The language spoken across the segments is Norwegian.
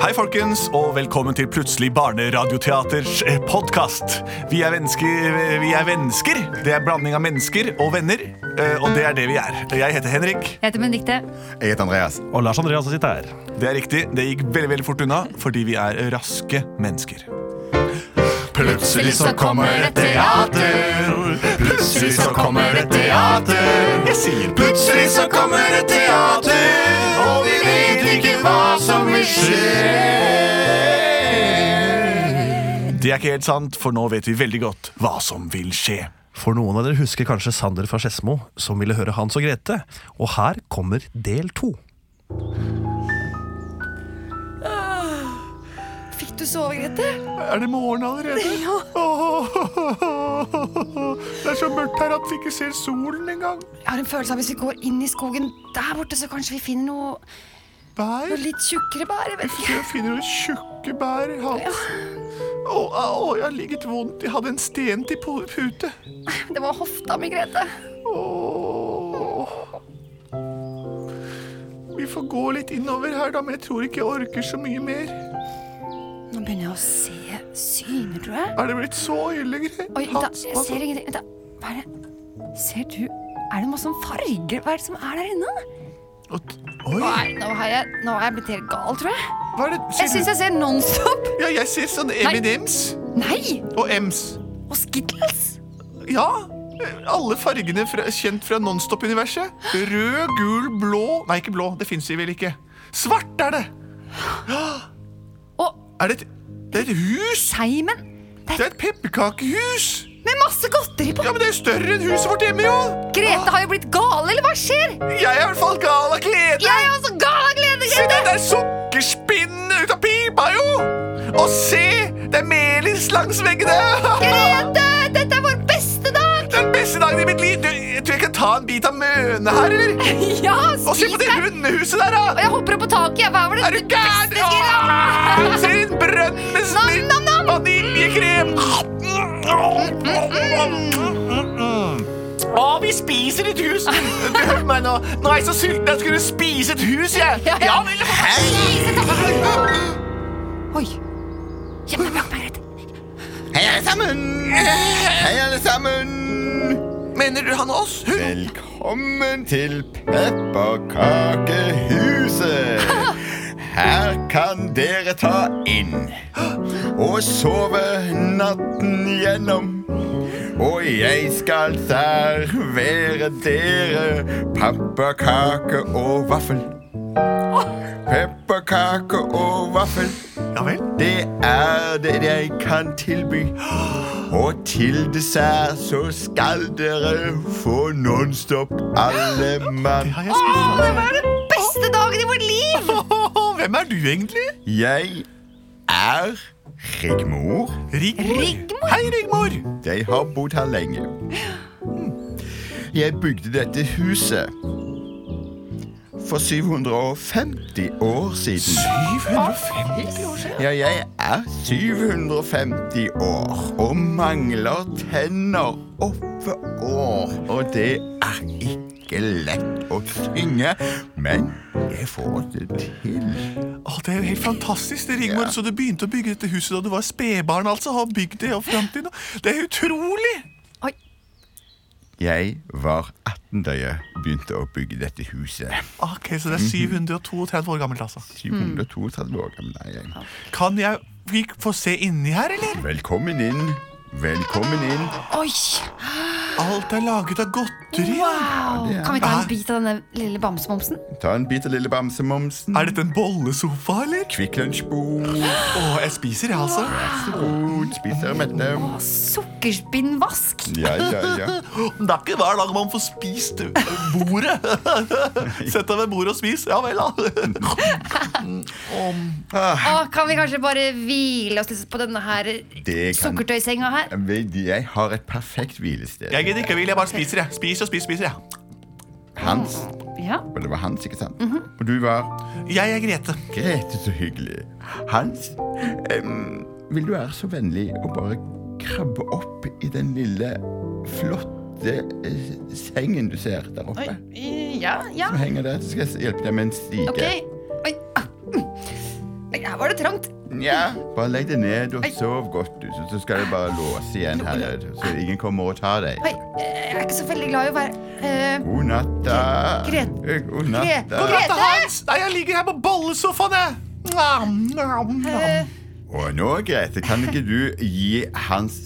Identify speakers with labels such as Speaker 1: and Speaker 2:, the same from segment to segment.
Speaker 1: Hei, folkens, og velkommen til Plutselig barneradioteaters podkast. Vi er mennesker, vi er mennesker. Det er blanding av mennesker og venner, eh, og det er det vi er. Jeg heter Henrik.
Speaker 2: Jeg heter Benedikte.
Speaker 3: Jeg heter Andreas.
Speaker 4: Og Lars Andreas sitter her.
Speaker 1: Det er riktig, det gikk veldig, veldig fort unna, fordi vi er raske mennesker.
Speaker 3: Plutselig
Speaker 2: så kommer et teater.
Speaker 3: Plutselig
Speaker 1: så kommer et teater. Jeg sier
Speaker 3: Plutselig så kommer et teater, og vi vet ikke hva som vil
Speaker 1: Det er ikke helt sant, for nå vet vi veldig godt hva som vil skje.
Speaker 4: For noen av dere husker kanskje Sander fra Skedsmo, som ville høre Hans og Grete. Og her kommer del to.
Speaker 5: Fikk du sove, Grete?
Speaker 1: Er det morgen allerede? Ja. det er så mørkt her at vi ikke ser solen engang.
Speaker 5: Jeg har en følelse av hvis vi går inn i skogen der borte, så kanskje vi finner noe,
Speaker 1: Bær?
Speaker 5: noe litt tjukkere bær. Jeg vet ikke.
Speaker 1: Jeg finner noen tjukke bær, Hans. Å, au, jeg har ligget vondt. Jeg hadde en sten til po- pute.
Speaker 5: Det var hofta mi, Grete.
Speaker 1: Åh. Vi får gå litt innover her, da, men jeg tror ikke jeg orker så mye mer.
Speaker 5: Nå begynner jeg å se syner, tror jeg.
Speaker 1: Er det blitt så ille, Gre-
Speaker 5: Oi, da,
Speaker 1: Hans?
Speaker 5: jeg
Speaker 1: hva-
Speaker 5: ser ingenting. Vent, da. Hva er det? Ser du Er det masse sånn farger? Hva er det som er der inne?
Speaker 1: Oi,
Speaker 5: Nei, nå har jeg, nå har jeg blitt helt gal, tror jeg.
Speaker 1: hva er det?
Speaker 5: Jeg syns jeg ser Nonstop.
Speaker 1: Ja, jeg ser sånn M&M's
Speaker 5: Nei!
Speaker 1: og M's.
Speaker 5: Og Skittles.
Speaker 1: Ja. Alle fargene fra, kjent fra Nonstop-universet. Rød, gul, blå Nei, ikke blå. Det fins de vel ikke. Svart er det!
Speaker 5: Og
Speaker 1: Er det et, det er et hus!
Speaker 5: Seimen. Det
Speaker 1: Det
Speaker 5: er
Speaker 1: er et pepperkakehus!
Speaker 5: med masse godteri på.
Speaker 1: Ja, men det er større enn huset vårt hjemme, jo!
Speaker 5: Grete har jo blitt gal, eller hva skjer?
Speaker 1: Jeg er i hvert fall gal av glede!
Speaker 5: Jeg er også gal av glede,
Speaker 1: Se, det
Speaker 5: Grete!
Speaker 1: er sukkerspinnene ut av pipa, jo! Og se, det er melis langs veggene!
Speaker 5: Grete, dette er vår beste dag!
Speaker 1: Den beste dagen i mitt liv! Du, jeg tror jeg kan ta en bit av møne her, eller?
Speaker 5: Ja,
Speaker 1: Og se på det
Speaker 5: deg!
Speaker 1: hundehuset der, da!
Speaker 5: Og jeg hopper opp på taket. jeg. Hva var det
Speaker 1: Er du gæren?
Speaker 5: beste skrivet?
Speaker 1: Åh, Se en brønn med snill
Speaker 5: Nam, nam, nam.
Speaker 1: vaniljekrem! Å, vi spiser et hus! Du hør meg nå. Nå er jeg så sulten jeg skulle spise et hus, jeg.
Speaker 5: Ja, ja.
Speaker 1: Ja vel, hei!
Speaker 5: Oi. Gjem deg bak meg, Grete.
Speaker 3: Hei, alle sammen! Hei, alle sammen!
Speaker 1: Mener du han og oss? Hun?
Speaker 3: Velkommen til Pepperkakehuset. Her kan dere ta inn og sove natten gjennom. Og jeg skal servere dere pepperkake og vaffel. Pepperkake og vaffel.
Speaker 1: Ja vel.
Speaker 3: Det er det jeg kan tilby. Og til dessert så skal dere få Nonstop alle mann.
Speaker 1: Ja, jeg spiser
Speaker 5: Det var den beste dagen i vårt liv!
Speaker 1: Åh, Hvem er du egentlig?
Speaker 3: Jeg er Rigmor.
Speaker 1: Rigmor.
Speaker 5: Rigmor.
Speaker 1: Hei, Rigmor.
Speaker 3: Jeg har bodd her lenge. Jeg bygde dette huset for 750 år siden.
Speaker 1: 750 år siden.
Speaker 3: Ja, jeg er 750 år og mangler tenner oppe år. Og det er ikke lett å synge, men jeg får det til.
Speaker 1: Åh, det er jo helt fantastisk, det, Rigmor.
Speaker 3: Ja.
Speaker 1: Så du begynte å bygge dette huset da du var spedbarn? altså, har bygd Det og frem til nå. Det er utrolig!
Speaker 5: Oi.
Speaker 3: Jeg var 18 da jeg begynte å bygge dette huset.
Speaker 1: Ok, Så det er 732 år gammelt, altså.
Speaker 3: 732 år gammel er jeg.
Speaker 1: Kan jeg vi få se inni her, eller?
Speaker 3: Velkommen inn. Velkommen inn.
Speaker 5: Oi.
Speaker 1: Alt er laget av godteri.
Speaker 5: Wow.
Speaker 3: det er-
Speaker 5: Kan vi ta en bit av denne lille bamsemomsen?
Speaker 3: Ta en bit av lille bamsemomsen.
Speaker 1: Er dette en bollesofa, eller?
Speaker 3: Kvikk Lunsjbord.
Speaker 1: Å, jeg spiser, jeg, altså.
Speaker 3: Spis dere mette.
Speaker 5: Og Sukkerspinnvask.
Speaker 3: Ja, ja, ja.
Speaker 1: Det er ikke hver dag man får spist eh, bordet. Sett deg ved bordet og spis. Ja vel, da.
Speaker 5: Å, kan vi kanskje bare hvile oss litt på denne her
Speaker 3: Det kan-
Speaker 5: sukkertøysenga her?
Speaker 3: Vet du, Jeg har et perfekt hvilested.
Speaker 1: Jeg gidder ikke, jeg vil. Jeg bare spiser, jeg. Spiser og spiser, spiser, jeg.
Speaker 3: Hans.
Speaker 5: Ja.
Speaker 3: Og det var Hans, ikke sant? Og du var
Speaker 1: Jeg er Grete.
Speaker 3: Grete, så hyggelig. Hans, em, vil du være så vennlig å bare krabbe opp i den lille, flotte eh, sengen du ser der oppe?
Speaker 5: Ja, ja.
Speaker 3: Som henger der, så skal jeg hjelpe deg med en stige.
Speaker 5: Ok. Oi. ah, mm. Au. Der var det trangt.
Speaker 3: Nja, bare legg deg ned og sov godt, du. Så- Så skal du bare låse igjen her, så ingen kommer og tar deg.
Speaker 5: Oi, eh, jeg er ikke så veldig glad i å være eh,
Speaker 3: God natt, da.
Speaker 5: Gre-
Speaker 3: God
Speaker 5: Gre-
Speaker 3: natt, da.
Speaker 5: Gre-
Speaker 1: Dette Hans! Nei, jeg ligger her på bollesofaen, jeg. Nam, nam, nam.
Speaker 5: eh,
Speaker 3: Og nå, Grete, kan ikke du gi Hans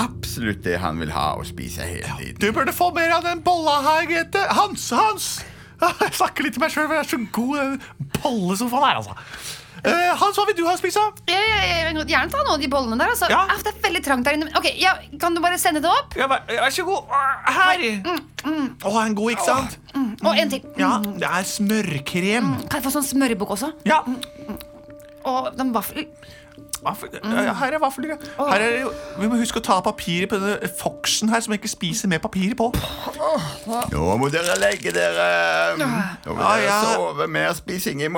Speaker 3: absolutt det han vil ha å spise hele tiden?
Speaker 1: Du burde få mer av den bolla her, Grete. Hans, Hans! Jeg snakker litt til meg sjøl, for jeg er så god i den bollesofaen her, altså. Eh, Hans, hva vil du ha å spise?
Speaker 5: jeg, jeg, jeg, vil gjerne ta noen av de bollene der. Altså.
Speaker 1: Ja.
Speaker 5: Au, det er veldig trangt der inne. Ok, ja, Kan du bare sende det opp?
Speaker 1: Ja, vær, vær så god. Her. Å, er den god, ikke sant?
Speaker 5: Og en til.
Speaker 1: Ja, det er smørkrem.
Speaker 5: Kan jeg få sånn smørebukk også?
Speaker 1: Ja.
Speaker 5: Og den vaffel...
Speaker 1: Vaffel, ja, her er vafler, ja. Her er, det jo- vi må huske å ta papiret på denne foksen her, som jeg ikke spiser med papiret på.
Speaker 3: Nå må dere legge dere. Nå må
Speaker 1: Ah,
Speaker 3: dere
Speaker 1: ja.
Speaker 3: sove. Mer spising i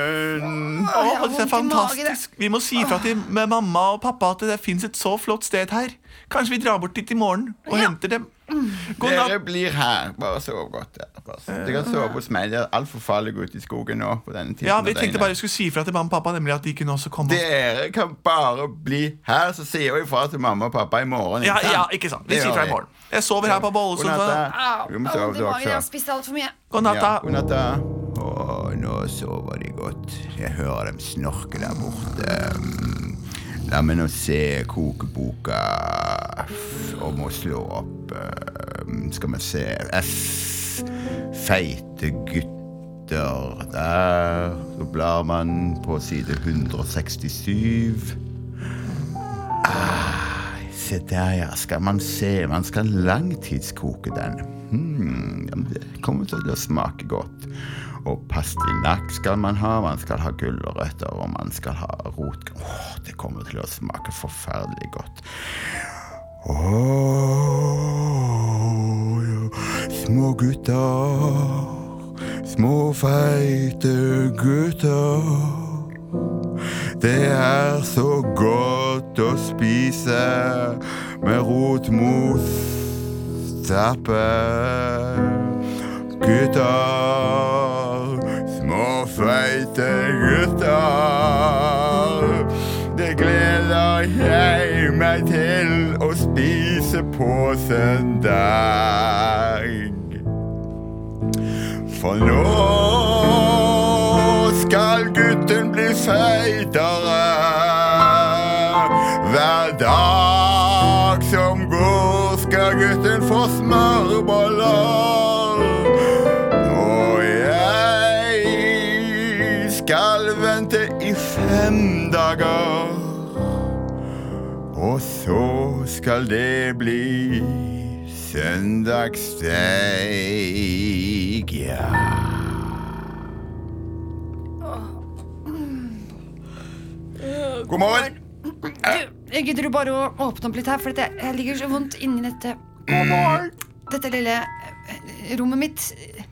Speaker 3: morgen.
Speaker 1: Å,
Speaker 5: jeg har
Speaker 1: det er
Speaker 5: vondt i magen,
Speaker 1: fantastisk. Vi må si fra til med mamma og pappa at det fins et så flott sted her. Kanskje vi drar bort dit i morgen og henter dem. God
Speaker 3: Dere
Speaker 1: natt.
Speaker 3: blir her. Bare sov godt. Der. Bare sov. Dere kan sove hos meg. Det er altfor farlig å gå ut i skogen nå. på denne tiden
Speaker 1: Ja,
Speaker 3: av
Speaker 1: Vi tenkte
Speaker 3: døgnet.
Speaker 1: bare vi skulle si fra til mamma og pappa nemlig at de kunne også komme.
Speaker 3: Dere kan bare bli her, så sier vi ifra til mamma og pappa i morgen.
Speaker 1: Ja,
Speaker 3: sant?
Speaker 1: ja, ikke sant. Vi
Speaker 3: Det
Speaker 1: sier
Speaker 3: gjør
Speaker 1: fra i
Speaker 3: vi.
Speaker 1: morgen. Jeg sover her på
Speaker 3: God natt,
Speaker 1: Bollesund.
Speaker 3: da.
Speaker 5: Au,
Speaker 3: Du må
Speaker 5: au,
Speaker 3: sove,
Speaker 5: det
Speaker 3: du
Speaker 5: var-
Speaker 3: også.
Speaker 5: jeg har spist altfor mye.
Speaker 1: God natt,
Speaker 3: Ja,
Speaker 1: da.
Speaker 3: god natt, da. Å, nå sover de godt. Jeg hører dem snorke der borte. Mm. La meg nå se kokeboka F- om å slå opp eh, Skal vi se F. Feite gutter. Der. Så blar man på side 167. Se der, ja. Skal man se. Man skal langtidskoke den. Hmm, ja, men det kommer til å smake godt. Og pastinakk skal man ha. Man skal ha gulrøtter, og man skal ha rot... Åh, det kommer til å smake forferdelig godt. Åh, ja. små gutter. Små, feite gutter. Det er så godt å spise med rotmos, tappe. Gutter, små feite gutter. Det gleder jeg meg til å spise på søndag. For nå skal gutten bli feitere. Hver dag som går skal gutten få smørboller. Og jeg skal vente i fem dager. Og så skal det bli søndagssteik, ja. God morgen.
Speaker 5: Du, gidder du bare å åpne opp litt her, for at jeg, jeg ligger så vondt inni dette, Mm.
Speaker 3: God morgen.
Speaker 5: dette lille eh, rommet mitt.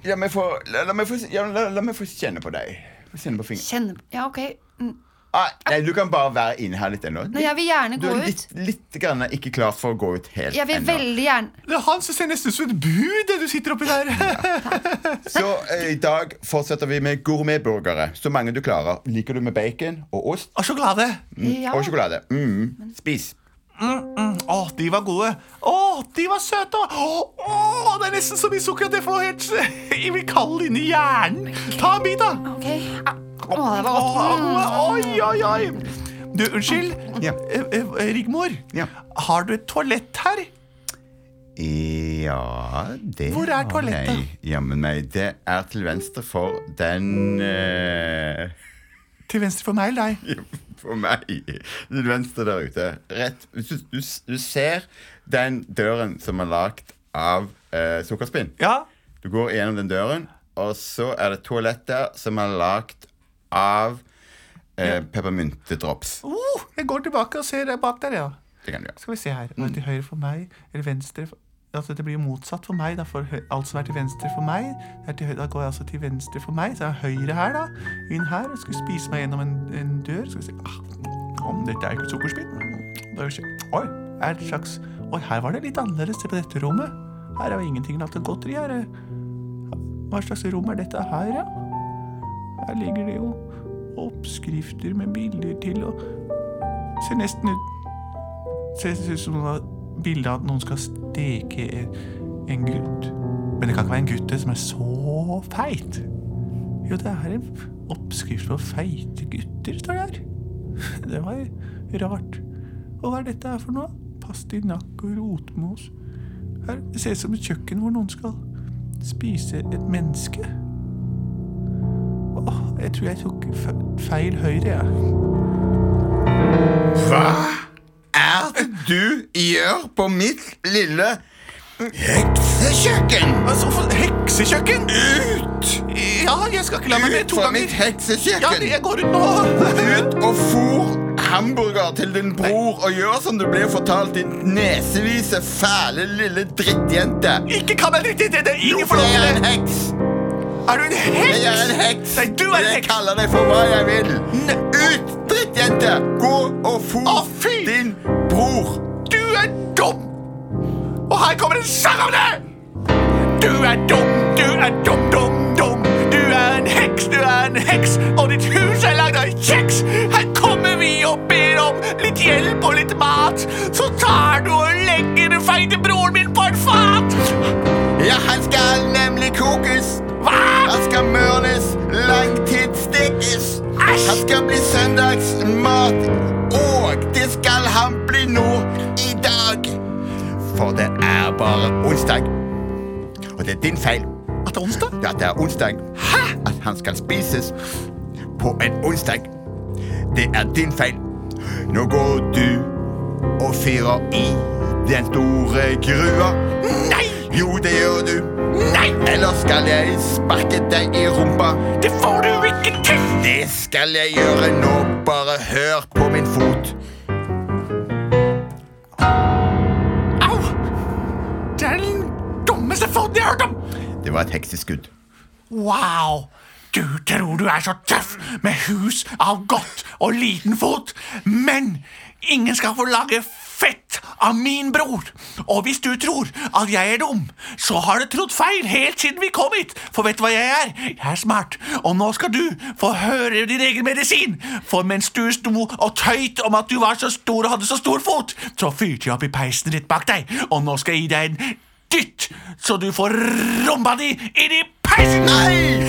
Speaker 3: La meg få, la, la meg få, ja, la, la meg få kjenne på deg. Få kjenne på fingeren.
Speaker 5: Kjenn Ja, ok. Mm.
Speaker 3: Ah, nei, du kan bare være inne her litt ennå.
Speaker 5: Nei, jeg vil gjerne
Speaker 3: Du
Speaker 5: gå
Speaker 3: er
Speaker 5: ut.
Speaker 3: litt, litt grann ikke klar for å gå ut helt
Speaker 5: Jeg vil
Speaker 3: ennå.
Speaker 5: veldig gjerne
Speaker 1: Det er Hans det ser nesten ut som et bud, det du sitter oppi der.
Speaker 3: Så eh, i dag fortsetter vi med gourmetburgere. Så mange du klarer. Liker du med bacon og ost?
Speaker 1: Og sjokolade.
Speaker 5: ja.
Speaker 3: Og sjokolade. Mm. Spis.
Speaker 1: Å, de var gode. Å, de var søte. Å, det er nesten så mye sukker at jeg får helt Jeg blir kald inni hjernen. Ta en bit, da.
Speaker 5: Ok. Å, det var
Speaker 1: Å,
Speaker 5: godt. Mm.
Speaker 1: Oi, oi, oi. Du, unnskyld.
Speaker 3: Ja.
Speaker 1: Eh, eh, Rigmor,
Speaker 3: Ja.
Speaker 1: har du et toalett her?
Speaker 3: Ja, det
Speaker 1: Hvor er
Speaker 3: har
Speaker 1: toalettet?
Speaker 3: jeg. Jammen meg, det er til venstre for den eh,
Speaker 1: Til venstre for meg eller deg?
Speaker 3: For meg. Til venstre der ute. Rett. Du, du, du ser den døren som er lagd av eh, sukkerspinn.
Speaker 1: Ja.
Speaker 3: Du går gjennom den døren, og så er det toalett der som er lagd av eh, peppermyntedrops.
Speaker 1: Oh, jeg går tilbake og ser bak der, ja.
Speaker 3: Det kan du gjøre.
Speaker 1: Skal vi se her. Var det til høyre for meg, eller venstre for Altså, det blir jo motsatt for meg. Da for hø- alt som er til venstre for meg. det Er til høyre, da går jeg altså til venstre for meg. Så er høyre her, da. Inn her. Og skal spise meg gjennom en, en dør. Skal vi se ah, Om dette er ikke sukkerspinn. Det er jo ikke- Oi, er det et slags Oi, her var det litt annerledes. Se på dette rommet. Her er jo ingenting lagt av godteri her. eh. Hva slags rom er dette her, ja? Her ligger det jo oppskrifter med bilder til og Ser nesten ut Ser ut som noen har bilde av at noen skal steke en, en gutt. Men det kan ikke være en gutt det, som er så feit. Jo, det er en oppskrift på feite gutter, står det her. Det var rart. Og hva er dette her for noe? Pastinakk og rotmos. Her det ser ut som et kjøkken hvor noen skal spise et menneske. Åh, jeg tror jeg tok fe- feil høyre, jeg.
Speaker 3: Hva er det du gjør på mitt lille heksekjøkken?
Speaker 1: Altså, for- heksekjøkken!
Speaker 3: Ut!
Speaker 1: Ja, jeg skal ikke la meg ned
Speaker 3: Ut
Speaker 1: to
Speaker 3: fra
Speaker 1: ganger.
Speaker 3: mitt
Speaker 1: Ja, det- jeg
Speaker 3: heksekjøkken!
Speaker 1: går ut nå.
Speaker 3: Ut og fôr hamburger til din bror, og gjør som du blir fortalt, din nesevise, fæle lille drittjente.
Speaker 1: Ikke kall meg dritt i det! det er
Speaker 3: Jo,
Speaker 1: Ingen får
Speaker 3: for
Speaker 1: lov til
Speaker 3: jeg er en
Speaker 1: det!
Speaker 3: heks!
Speaker 1: Er du en heks?
Speaker 3: Jeg er en heks!
Speaker 1: Nei, du er en
Speaker 3: Jeg
Speaker 1: heks.
Speaker 3: kaller deg for hva jeg vil.
Speaker 1: Ne-
Speaker 3: Ut, drittjente! Gå og fôr
Speaker 1: Å, fy!
Speaker 3: din bror.
Speaker 1: Du er dum! Og her kommer en sang om det! Du er dum, du er dum, dum, dum. Du er en heks, du er en heks, og ditt hus er lagd av kjeks. Her kommer vi og ber om litt hjelp og litt mat. Så tar du og legger den feite broren min på et fat.
Speaker 3: Ja, han skal nemlig kokes.
Speaker 1: Hva?
Speaker 3: Han skal mørnes, langtidsstekes. Han skal bli søndagsmat, og det skal han bli nå i dag. For det er bare onsdag. Og det er din feil.
Speaker 1: At det er onsdag?
Speaker 3: Ja, det er onsdag. At han skal spises på en onsdag. Det er din feil. Nå går du og fyrer i den store grua.
Speaker 1: Nei!
Speaker 3: Jo, det gjør du.
Speaker 1: Nei!
Speaker 3: Ellers skal jeg sparke deg i rumpa.
Speaker 1: Det får du ikke til!
Speaker 3: Det skal jeg gjøre nå. Bare hør på min fot.
Speaker 1: Au! Det er den dummeste foten jeg har hørt om!
Speaker 3: Det var et hekseskudd.
Speaker 1: Wow! Du tror du er så tøff med hus av godt og liten fot, men ingen skal få lage fett av min bror. Og hvis du tror at jeg er dum, så har du trodd feil helt siden vi kom hit. For vet du hva jeg er? Jeg er smart. Og nå skal du få høre din egen medisin. For mens du sto og tøyt om at du var så stor og hadde så stor fot, så fyrte jeg opp i peisen rett bak deg, og nå skal jeg gi deg en dytt, så du får rumba di inn i peisen!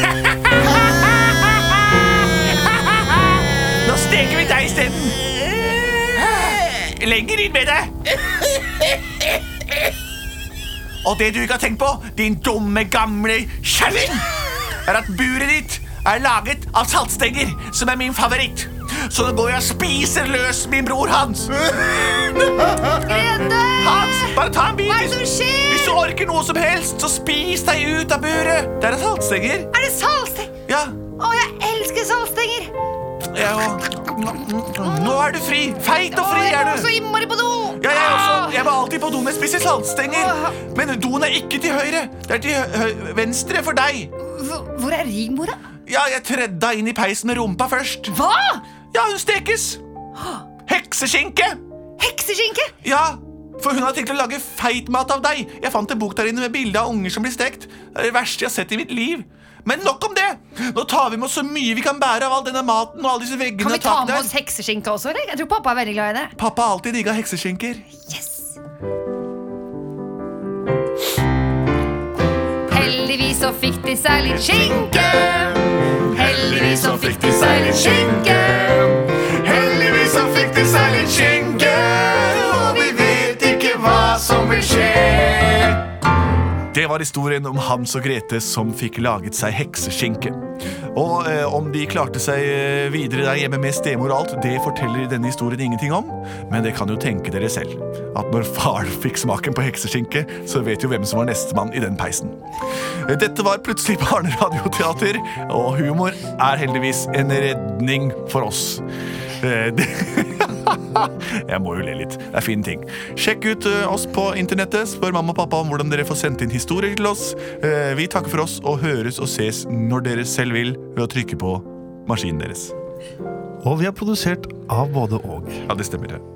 Speaker 1: Nå steker vi deg isteden. Lenger inn med deg. Og det du ikke har tenkt på, din dumme, gamle kjerring, er at buret ditt er laget av saltstenger, som er min favoritt. Så nå går jeg og spiser løs min bror Hans.
Speaker 2: Redde!
Speaker 1: Hans, bare ta en bit.
Speaker 2: Hva er det som skjer?
Speaker 1: Hvis du orker noe som helst, så spis deg ut av buret. Det er saltstenger.
Speaker 2: Er det saltsteng?
Speaker 1: Ja,
Speaker 2: Å, jeg elsker saltstenger!
Speaker 1: ja. og- Nå er du fri. Feit og
Speaker 2: Å,
Speaker 1: fri
Speaker 2: jeg
Speaker 1: er
Speaker 2: må
Speaker 1: du.
Speaker 2: så innmari på do!
Speaker 1: Ja, jeg også. Jeg var alltid på do med spisse saltstenger. Men doen er ikke til høyre. Det er til hø- hø- venstre for deg.
Speaker 5: Hvor hvor er Rigmor, da?
Speaker 1: Ja, jeg tredda inn i peisen med rumpa først.
Speaker 5: Hva?
Speaker 1: Ja, hun stekes. Heksekynke.
Speaker 2: Heksekynke!
Speaker 1: Ja, for hun har tenkt å lage feitmat av deg. Jeg fant en bok der inne med bilde av unger som blir stekt. Det er det verste jeg har sett i mitt liv. Men nok om det. Nå tar vi med oss så mye vi kan bære av all denne maten og alle disse veggene
Speaker 5: Kan vi
Speaker 1: og
Speaker 5: ta
Speaker 1: taket
Speaker 5: med
Speaker 1: der.
Speaker 5: oss hekseskinke også? eller? Jeg tror pappa er veldig glad i det.
Speaker 1: Pappa har alltid digga heksekynker.
Speaker 5: Heldigvis så fikk de seg litt skinke. Heldigvis så fikk de seg litt skinke.
Speaker 1: Heldigvis så fikk de seg litt skinke, og vi vet ikke hva som vil skje. Det var historien om Hans og Grete som fikk laget seg hekseskinke. Og eh, om de klarte seg eh, videre der hjemme med stemor og alt, det forteller denne historien ingenting om, men det kan jo tenke dere selv. At når faren fikk smaken på hekseskinke, så vet jo hvem som var nestemann i den peisen. Eh, Dette var plutselig barneradioteater, og humor er heldigvis en redning for oss. Eh, det- Jeg må jo le litt. Det er fine ting. Sjekk ut eh, oss på internettet. Spør mamma og pappa om hvordan dere får sendt inn historier til oss. Eh, Vi takker for oss og høres og ses når dere selv vil, ved å trykke på maskinen deres.
Speaker 4: Og vi er produsert av både og.
Speaker 1: Ja, det stemmer. det